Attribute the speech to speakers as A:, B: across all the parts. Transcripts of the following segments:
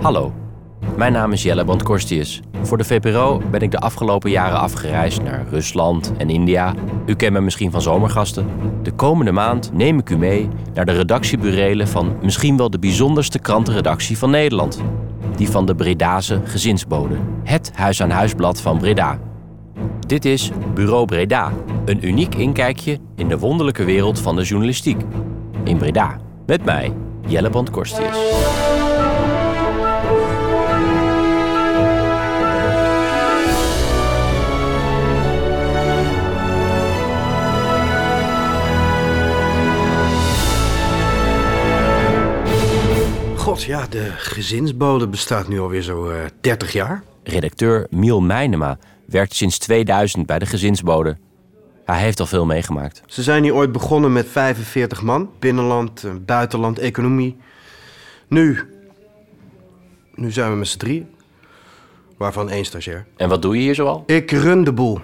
A: Hallo, mijn naam is Jelle Brandkorstius. Voor de VPRO ben ik de afgelopen jaren afgereisd naar Rusland en India. U kent me misschien van zomergasten. De komende maand neem ik u mee naar de redactieburelen van misschien wel de bijzonderste krantenredactie van Nederland. Die van de Bredase Gezinsbode, het huis-aan-huisblad van Breda. Dit is Bureau Breda, een uniek inkijkje in de wonderlijke wereld van de journalistiek. In Breda, met mij, Jelle Brandkorstius.
B: God, ja, de gezinsbode bestaat nu alweer zo eh 30 jaar.
A: Redacteur Miel Meijnema werkt sinds 2000 bij de gezinsbode. Hij heeft al veel meegemaakt.
B: Ze zijn hier ooit begonnen met 45 man. Binnenland, eh, buitenland, economie. Nu, nu zijn we met z'n drieën. Waarvan één stagiair.
A: En wat doe je hier zoal?
B: Ik run de boel.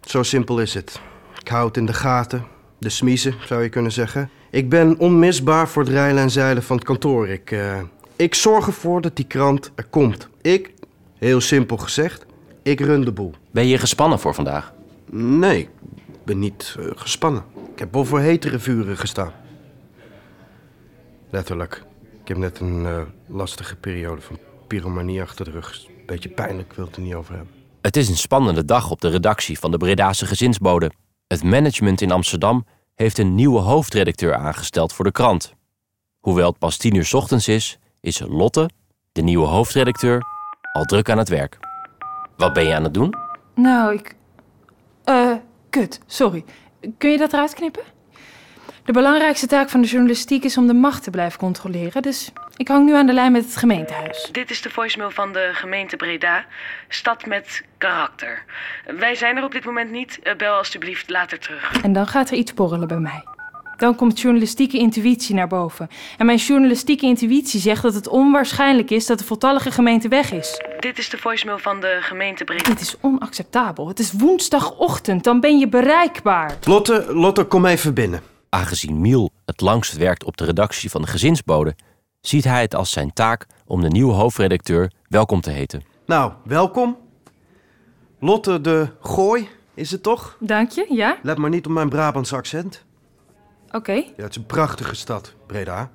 B: Zo simpel is het. Ik hou het in de gaten. De smiezen, zou je kunnen zeggen. Ik ben onmisbaar voor het rijlen en zeilen van het kantoor. Ik, eh, ik zorg ervoor dat die krant er komt. Ik, heel simpel gezegd, ik run de boel.
A: Ben je gespannen voor vandaag?
B: Nee, ik ben niet eh, gespannen. Ik heb wel voor hetere vuren gestaan. Letterlijk. Ik heb net een eh, lastige periode van pyromanie achter de rug. Is een Beetje pijnlijk, ik wil het er niet over hebben.
A: Het is een spannende dag op de redactie van de Bredase Gezinsbode. Het management in Amsterdam heeft een nieuwe hoofdredacteur aangesteld voor de krant. Hoewel het pas tien uur 's ochtends is, is Lotte, de nieuwe hoofdredacteur, al druk aan het werk. Wat ben je aan het doen?
C: Nou, ik. Eh, kut, sorry. Kun je dat eruit knippen? De belangrijkste taak van de journalistiek is om de macht te blijven controleren. Dus ik hang nu aan de lijn met het gemeentehuis.
D: Dit is de voicemail van de gemeente Breda, stad met karakter. Wij zijn er op dit moment niet. Eh, Bel alstublieft later terug.
C: En dan gaat er iets borrelen bij mij. Dan komt journalistieke intuïtie naar boven. En mijn journalistieke intuïtie zegt dat het onwaarschijnlijk is dat de voltallige gemeente weg is.
D: Dit is de voicemail van de gemeente Breda.
C: Dit is onacceptabel. Het is woensdagochtend, dan ben je bereikbaar.
B: Lotte, Lotte, kom even binnen.
A: Aangezien Miel het langst werkt op de redactie van de gezinsbode, ziet hij het als zijn taak om de nieuwe hoofdredacteur welkom te heten.
B: Nou, welkom. Lotte de Gooi, is het toch?
C: Dank je, ja?
B: Let maar niet op mijn Brabantse accent.
C: Oké.
B: Ja, het is een prachtige stad, Breda.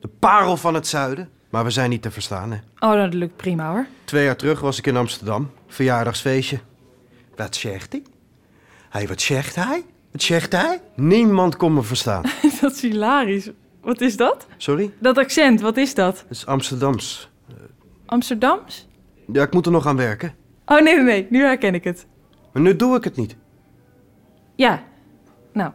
B: De parel van het zuiden. Maar we zijn niet te verstaan, hè.
C: Oh, dat lukt prima hoor.
B: Twee jaar terug was ik in Amsterdam. Verjaardagsfeestje. Wat zegt hij? Hij, wat zegt hij? Wat zegt hij? Niemand kon me verstaan.
C: dat is hilarisch. Wat is dat?
B: Sorry?
C: Dat accent, wat is dat?
B: Het is Amsterdams.
C: Amsterdams?
B: Ja, ik moet er nog aan werken.
C: Oh nee, nee, nee, nu herken ik het.
B: Maar nu doe ik het niet.
C: Ja, nou.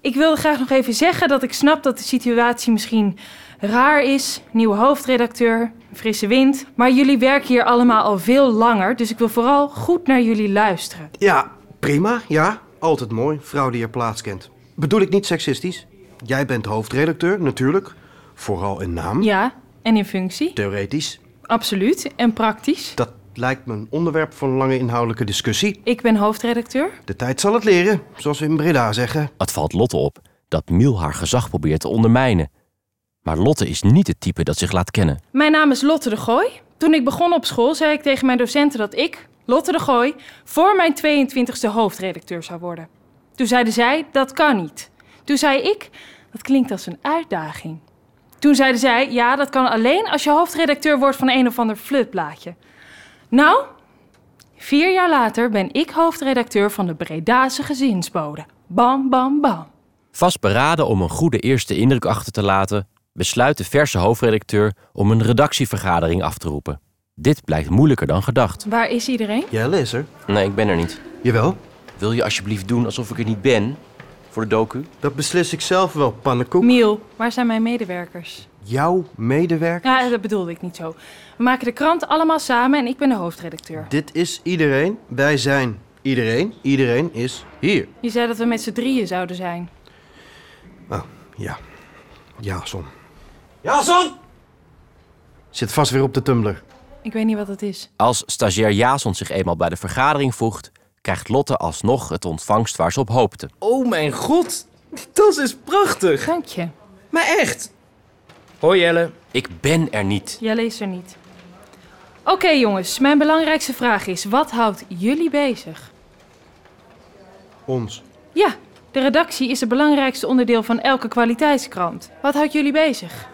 C: Ik wilde graag nog even zeggen dat ik snap dat de situatie misschien raar is. Nieuwe hoofdredacteur, frisse wind. Maar jullie werken hier allemaal al veel langer, dus ik wil vooral goed naar jullie luisteren.
B: Ja, prima. Ja, altijd mooi. Vrouw die haar plaats kent. Bedoel ik niet seksistisch? Jij bent hoofdredacteur, natuurlijk. Vooral in naam.
C: Ja, en in functie?
B: Theoretisch.
C: Absoluut. En praktisch?
B: Dat lijkt me een onderwerp voor een lange inhoudelijke discussie.
C: Ik ben hoofdredacteur.
B: De tijd zal het leren, zoals we in Breda zeggen.
A: Het valt Lotte op dat Miel haar gezag probeert te ondermijnen. Maar Lotte is niet het type dat zich laat kennen.
C: Mijn naam is Lotte de Gooi. Toen ik begon op school zei ik tegen mijn docenten dat ik, Lotte de Gooi, voor mijn 22e hoofdredacteur zou worden. Toen zeiden zij, dat kan niet. Toen zei ik, dat klinkt als een uitdaging. Toen zeiden zij, ja, dat kan alleen als je hoofdredacteur wordt van een of ander flutblaadje. Nou, vier jaar later ben ik hoofdredacteur van de Bredase Gezinsbode. Bam, bam, bam.
A: Vastberaden om een goede eerste indruk achter te laten, besluit de verse hoofdredacteur om een redactievergadering af te roepen. Dit blijkt moeilijker dan gedacht.
C: Waar is iedereen?
B: Jelle is er.
A: Nee, ik ben er niet.
B: Jawel.
A: Wil je alsjeblieft doen alsof ik er niet ben? Voor de docu?
B: Dat beslis ik zelf wel, pannenkoek.
C: Miel, waar zijn mijn medewerkers?
B: Jouw medewerker?
C: Ja, dat bedoelde ik niet zo. We maken de krant allemaal samen en ik ben de hoofdredacteur.
B: Dit is iedereen. Wij zijn iedereen. Iedereen is hier.
C: Je zei dat we met z'n drieën zouden zijn.
B: Oh, ja. Jason. Jason! Zit vast weer op de Tumblr.
C: Ik weet niet wat dat is.
A: Als stagiair Jason zich eenmaal bij de vergadering voegt, krijgt Lotte alsnog het ontvangst waar ze op hoopte.
E: Oh mijn god, die tas is prachtig.
C: Dank je.
E: Maar echt. Hoi Jelle.
A: Ik ben er niet.
C: Jij leest er niet. Oké jongens, mijn belangrijkste vraag is, wat houdt jullie bezig?
B: Ons.
C: Ja, de redactie is het belangrijkste onderdeel van elke kwaliteitskrant. Wat houdt jullie bezig?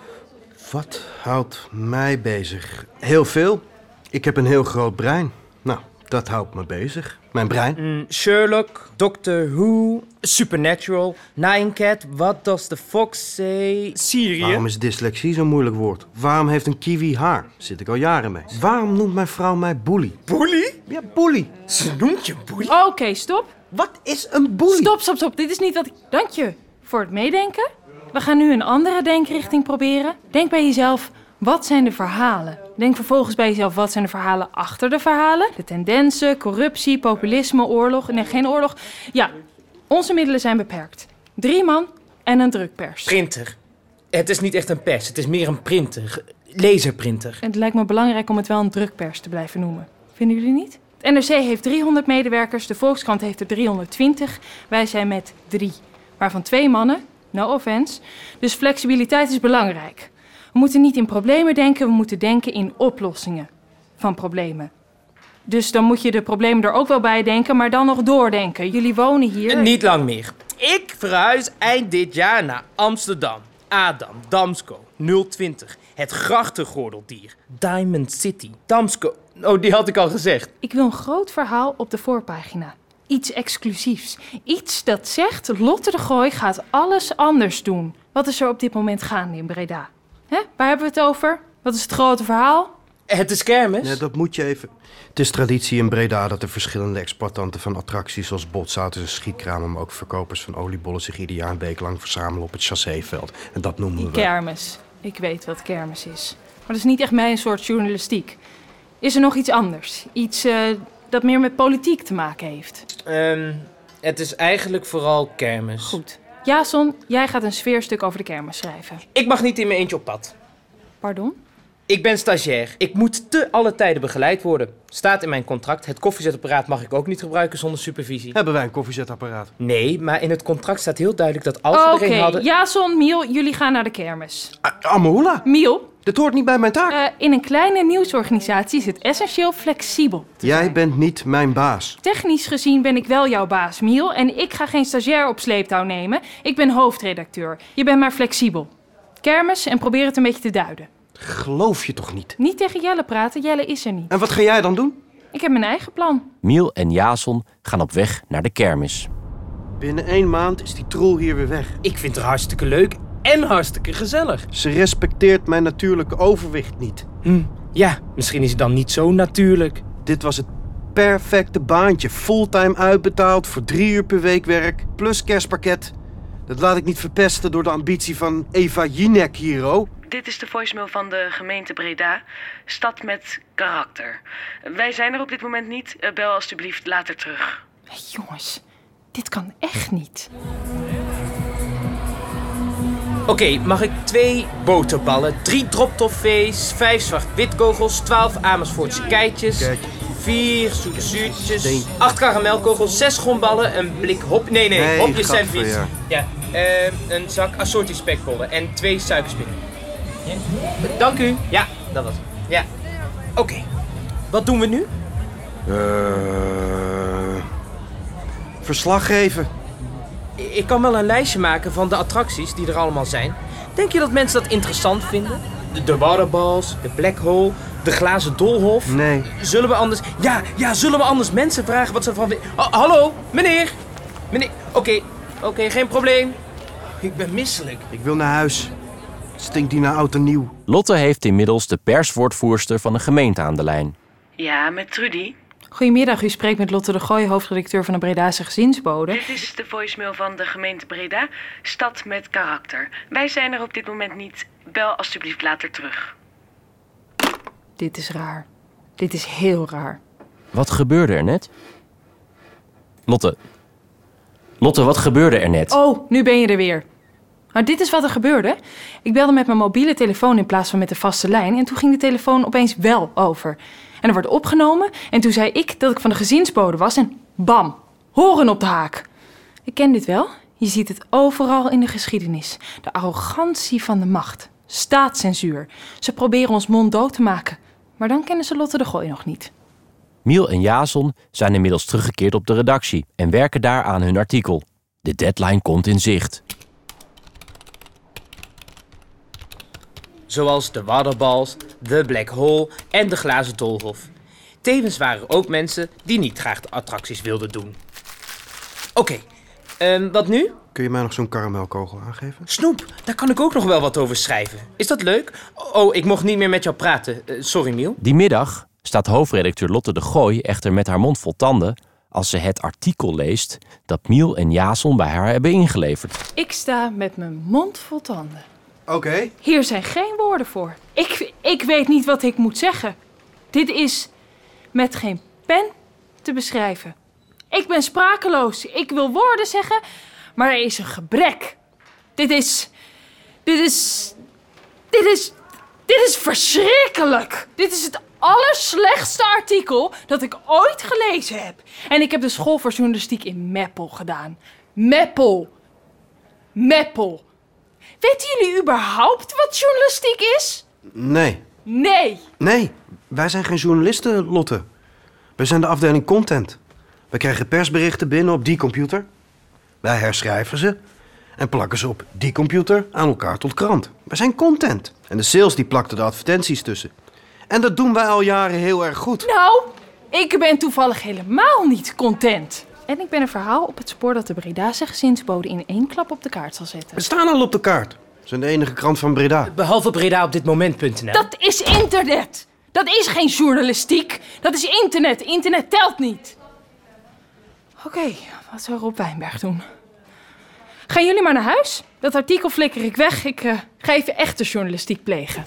B: Wat houdt mij bezig? Heel veel. Ik heb een heel groot brein. Nou, dat houdt me bezig. Mijn brein.
E: Mm, Sherlock, Doctor Who, Supernatural, Nine Cat, What Does the Fox Say, Syrië.
B: Waarom is dyslexie zo'n moeilijk woord? Waarom heeft een kiwi haar? Zit ik al jaren mee. Waarom noemt mijn vrouw mij boelie?
E: Bully?
B: Ja, boelie.
E: Ze noemt je bully?
C: Oké, stop.
B: Wat is een boelie?
C: Stop, stop, stop. Dit is niet wat ik... Dank je voor het meedenken. We gaan nu een andere denkrichting proberen. Denk bij jezelf, wat zijn de verhalen? Denk vervolgens bij jezelf, wat zijn de verhalen achter de verhalen? De tendensen, corruptie, populisme, oorlog. Nee, geen oorlog. Ja, onze middelen zijn beperkt. Drie man en een drukpers.
E: Printer. Het is niet echt een pers, het is meer een printer. Laserprinter.
C: Het lijkt me belangrijk om het wel een drukpers te blijven noemen. Vinden jullie niet? Het NRC heeft 300 medewerkers, de Volkskrant heeft er 320. Wij zijn met drie, waarvan twee mannen, no offense. Dus flexibiliteit is belangrijk. We moeten niet in problemen denken, we moeten denken in oplossingen van problemen. Dus dan moet je de problemen er ook wel bij denken, maar dan nog doordenken. Jullie wonen hier.
E: En Niet lang meer. Ik verhuis eind dit jaar naar Amsterdam. Adam, Damsko, 020. Het grachtengordeldier. Diamond City. Damsko. Oh, die had ik al gezegd.
C: Ik wil een groot verhaal op de voorpagina. Iets exclusiefs. Iets dat zegt Lotte de Gooi gaat alles anders doen. Wat is er op dit moment gaande in Breda? Hè? Waar hebben we het over? Wat is het grote verhaal?
E: Het is kermis.
B: Ja, dat moet je even. Het is traditie in Breda dat de verschillende exploitanten van attracties zoals botsouters en schietkramen, maar ook verkopers van oliebollen zich ieder jaar een week lang verzamelen op het chasséveld. En dat noemen
C: Die
B: we.
C: kermis. Ik weet wat kermis is. Maar dat is niet echt mijn soort journalistiek. Is er nog iets anders? Iets eh, dat meer met politiek te maken heeft?
E: Ehm, het is eigenlijk vooral kermis.
C: Goed. Jason, jij gaat een sfeerstuk over de kermis schrijven.
E: Ik mag niet in mijn eentje op pad.
C: Pardon?
E: Ik ben stagiair. Ik moet te alle tijden begeleid worden. Staat in mijn contract. Het koffiezetapparaat mag ik ook niet gebruiken zonder supervisie.
B: Hebben wij een koffiezetapparaat?
E: Nee, maar in het contract staat heel duidelijk dat als we
C: Oké,
E: er een hadden...
C: Jason, Miel, jullie gaan naar de kermis.
B: Ah, Amahula,
C: Miel,
B: dit hoort niet bij mijn taak.
C: Eh, in een kleine nieuwsorganisatie is het essentieel flexibel. te
B: Jij
C: zijn.
B: bent niet mijn baas.
C: Technisch gezien ben ik wel jouw baas, Miel. En ik ga geen stagiair op sleeptouw nemen. Ik ben hoofdredacteur. Je bent maar flexibel. Kermis en probeer het een beetje te duiden.
B: Geloof je toch niet?
C: Niet tegen Jelle praten, Jelle is er niet.
B: En wat ga jij dan doen?
C: Ik heb mijn eigen plan.
A: Miel en Jason gaan op weg naar de kermis.
B: Binnen één maand is die troel hier weer weg.
E: Ik vind het hartstikke leuk en hartstikke gezellig.
B: Ze respecteert mijn natuurlijke overwicht niet.
E: Hm, ja, misschien is het dan niet zo natuurlijk.
B: Dit was het perfecte baantje. Fulltime uitbetaald voor drie uur per week werk. Plus kerstpakket. Dat laat ik niet verpesten door de ambitie van Eva Jinek hier, oh.
D: Dit is de voicemail van de gemeente Breda, stad met karakter. Wij zijn er op dit moment niet, Eh, bel alstublieft later terug.
C: Hey, jongens, dit kan echt niet.
E: Oké, mag ik twee boterballen, drie droptoffees, vijf zwart-witkogels, twaalf Amersfoortse keitjes,
B: Kijk.
E: vier zoete zuurtjes,
B: Steen.
E: acht karamelkogels, zes gomballen, een blik hop... Nee, nee,
B: Nee,
E: hopjes
B: gadver,
E: sandwich.
B: ja.
E: Ja, ehm, een zak assortie spekbollen en twee suikerspinnen. Ja? Dank u. Ja, dat was het. Ja. Oké, wat doen we nu?
B: Eh verslag geven.
E: Ik kan wel een lijstje maken van de attracties die er allemaal zijn. Denk je dat mensen dat interessant vinden? De, de waterballs, de black hole, de glazen doolhof.
B: Nee.
E: Zullen we anders... Ja, ja, zullen we anders mensen vragen wat ze van... Oh, hallo, meneer. Meneer, oké, oké, geen probleem. Ik ben misselijk.
B: Ik wil naar huis. Stinkt die naar oud en nieuw.
A: Lotte heeft inmiddels de perswoordvoerster van de gemeente aan de lijn.
D: Ja, met Trudy.
C: Goedemiddag, u spreekt met Lotte de Gooi, hoofdredacteur van de Bredaanse Gezinsbode.
D: Dit is de voicemail van de gemeente Breda, stad met karakter. Wij zijn er op dit moment niet, bel alstublieft later terug.
C: Dit is raar. Dit is heel raar.
A: Wat gebeurde er net? Lotte. Lotte, wat gebeurde er net?
C: Oh, nu ben je er weer. Nou, dit is wat er gebeurde. Ik belde met mijn mobiele telefoon in plaats van met de vaste lijn. En toen ging de telefoon opeens wel over. En er wordt opgenomen. En toen zei ik dat ik van de gezinsbode was. En bam, horen op de haak. Ik ken dit wel. Je ziet het overal in de geschiedenis. De arrogantie van de macht. staatscensuur. Ze proberen ons mond dood te maken. Maar dan kennen ze Lotte de Gooi nog niet.
A: Miel en Jason zijn inmiddels teruggekeerd op de redactie en werken daar aan hun artikel. De deadline komt in zicht.
E: zoals de Waddenbals, de Black Hole en de Glazen Doolhof. Tevens waren er ook mensen die niet graag de attracties wilden doen. Oké, ehm, wat nu?
B: Kun je mij nog zo'n karamelkogel aangeven?
E: Snoep, daar kan ik ook nog wel wat over schrijven. Is dat leuk? Oh, ik mocht niet meer met jou praten. Eh, sorry, Miel.
A: Die middag staat hoofdredacteur Lotte de Gooi echter met haar mond vol tanden als ze het artikel leest dat Miel en Jason bij haar hebben ingeleverd.
C: Ik sta met mijn mond vol tanden.
B: Oké.
C: Hier zijn geen woorden voor. Ik, ik weet niet wat ik moet zeggen. Dit is met geen pen te beschrijven. Ik ben sprakeloos. Ik wil woorden zeggen, maar er is een gebrek. Dit is. Dit is. Dit is. Dit is verschrikkelijk. Dit is het allerslechtste artikel dat ik ooit gelezen heb. En ik heb de school voor journalistiek in Meppel gedaan. Meppel. Meppel. Weten jullie überhaupt wat journalistiek is?
B: Nee.
C: Nee.
B: Nee, wij zijn geen journalisten, Lotte. Wij zijn de afdeling content. We krijgen persberichten binnen op die computer. Wij herschrijven ze en plakken ze op die computer aan elkaar tot krant. Wij zijn content. En de sales die plakten de advertenties tussen. En dat doen wij al jaren heel erg goed.
C: Nou, ik ben toevallig helemaal niet content. En ik ben een verhaal op het spoor dat de Breda'se gezinsbode in één klap op de kaart zal zetten.
B: We staan al op de kaart. We zijn de enige krant van Breda.
E: Behalve Breda op dit moment.nl.
C: Dat is internet. Dat is geen journalistiek. Dat is internet. Internet telt niet. Oké, wat zou Rob Wijnberg doen? Gaan jullie maar naar huis? Dat artikel flikker ik weg. Ik eh, ga even echte journalistiek plegen.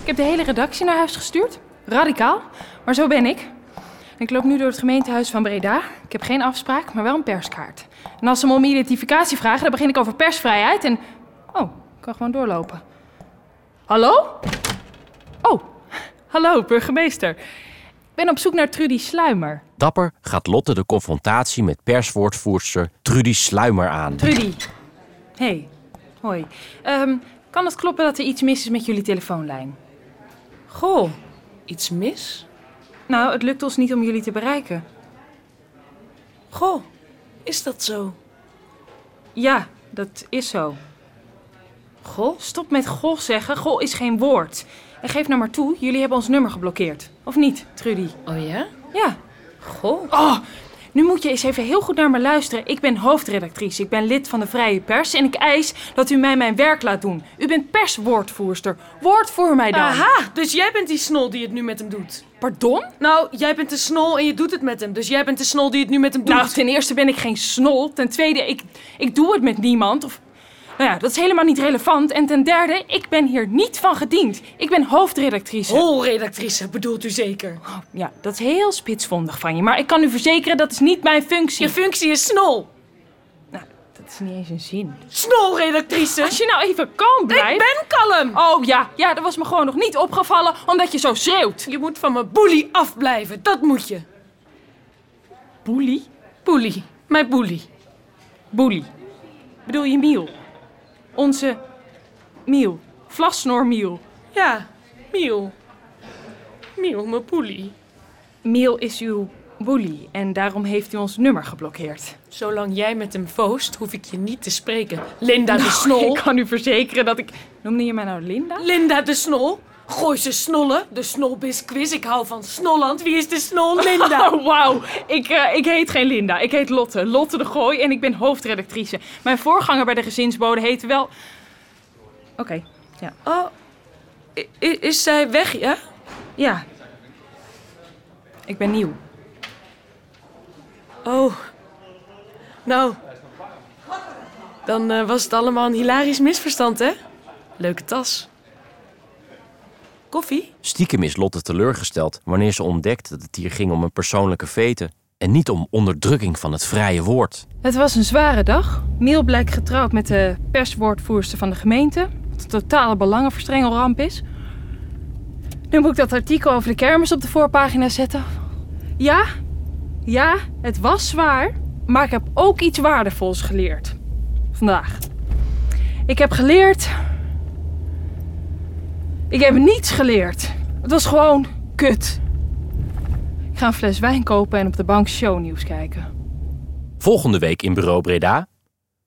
C: Ik heb de hele redactie naar huis gestuurd. Radicaal, maar zo ben ik. En Ik loop nu door het gemeentehuis van Breda. Ik heb geen afspraak, maar wel een perskaart. En als ze me om identificatie vragen, dan begin ik over persvrijheid en... Oh, ik kan gewoon doorlopen. Hallo? Oh, hallo burgemeester. Ik ben op zoek naar Trudy Sluimer.
A: Dapper gaat Lotte de confrontatie met perswoordvoerster Trudy Sluimer aan.
C: Trudy. Hey, hoi. Ehm, kan het kloppen dat er iets mis is met jullie telefoonlijn? Goh,
D: Iets mis?
C: nou, het lukt ons niet om jullie te bereiken.
D: Goh, is dat zo?
C: Ja, dat is zo. Goh, stop met goh zeggen. Goh is geen woord. En geef nou maar toe, jullie hebben ons nummer geblokkeerd. Of niet, Trudy?
D: Oh ja?
C: Ja.
D: Goh.
C: Oh, nu moet je eens even heel goed naar me luisteren. Ik ben hoofdredactrice, ik ben lid van de Vrije Pers en ik eis dat u mij mijn werk laat doen. U bent perswoordvoerster. Woordvoer mij dan.
D: Aha, dus jij bent die snol die het nu met hem doet.
C: Pardon?
D: Nou, jij bent de snol en je doet het met hem. Dus jij bent de snol die het nu met hem doet.
C: Nou, ten eerste ben ik geen snol. Ten tweede, ik, ik doe het met niemand. Of, nou ja, dat is helemaal niet relevant. En ten derde, ik ben hier niet van gediend. Ik ben hoofdredactrice.
D: Holredactrice bedoelt u zeker?
C: Ja, dat is heel spitsvondig van je. Maar ik kan u verzekeren, dat is niet mijn functie.
D: Je functie is snol.
C: Nou, dat is niet eens een zin.
D: Snolredactrice.
C: Als je nou even kalm blijft...
D: Ik ben kalm.
C: Oh ja, ja, dat was me gewoon nog niet opgevallen omdat je zo schreeuwt.
D: Je moet van mijn boelie afblijven. Dat moet je.
C: Boelie?
D: Boelie. Mijn boelie.
C: Boelie. Bedoel je Miel? Onze Miel. Vlasnor Miel.
D: Ja, Miel. Miel, mijn boelie.
C: Miel is uw boelie en daarom heeft u ons nummer geblokkeerd.
D: Zolang jij met hem voost, hoef ik je niet te spreken. Linda de
C: Nou, Ik
D: snol.
C: kan u verzekeren dat ik... Noemde je mij nou Linda?
D: Linda de snol. Gooi ze snollen. De snolbisquiz. Ik hou van Snolland. Wie is de snol? Linda.
C: Oh, wauw. Ik, eh, ik heet geen Linda. Ik heet Lotte. Lotte de Gooi en ik ben hoofdredactrice. Mijn voorganger bij de gezinsbode heette wel... Oké.
D: Oh, i- i- is zij weg, ja?
C: Ja. Ik ben nieuw.
D: Oh. Nou. Dan eh, was het allemaal een hilarisch misverstand, hè? Leuke tas. Koffie?
A: Stiekem is Lotte teleurgesteld wanneer ze ontdekt dat het hier ging om een persoonlijke vete en niet om onderdrukking van het vrije woord.
C: Het was een zware dag. Miel blijkt getrouwd met de perswoordvoerster van de gemeente. Wat een totale belangenverstrengelramp is. Nu moet ik dat artikel over de kermis op de voorpagina zetten. Ja, ja, het was zwaar. Maar ik heb ook iets waardevols geleerd. Vandaag. Ik heb geleerd Ik heb niets geleerd. Het was gewoon kut. Ik ga een fles wijn kopen en op de bank shownieuws kijken.
A: Volgende week in Bureau Breda.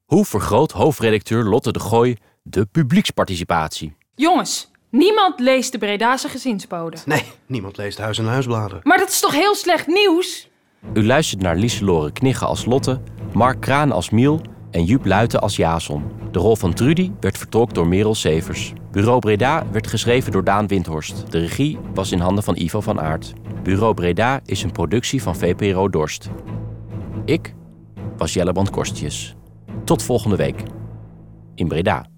A: Hoe vergroot hoofdredacteur Lotte de Gooi de publieksparticipatie?
C: Jongens, niemand leest de Bredase gezinsbode.
B: Nee, niemand leest huis- en huisbladen.
C: Maar dat is toch heel slecht nieuws?
A: U luistert naar Lieselore Knigge als Lotte, Mark Kraan als Miel en Joep Luiten als Jason. De rol van Trudy werd vertolkt door Merel Severs. Bureau Breda werd geschreven door Daan Windhorst. De regie was in handen van Ivo van Aert. Bureau Breda is een productie van VPRO Dorst. Ik was Jelle Brand Korstjes. Tot volgende week. In Breda.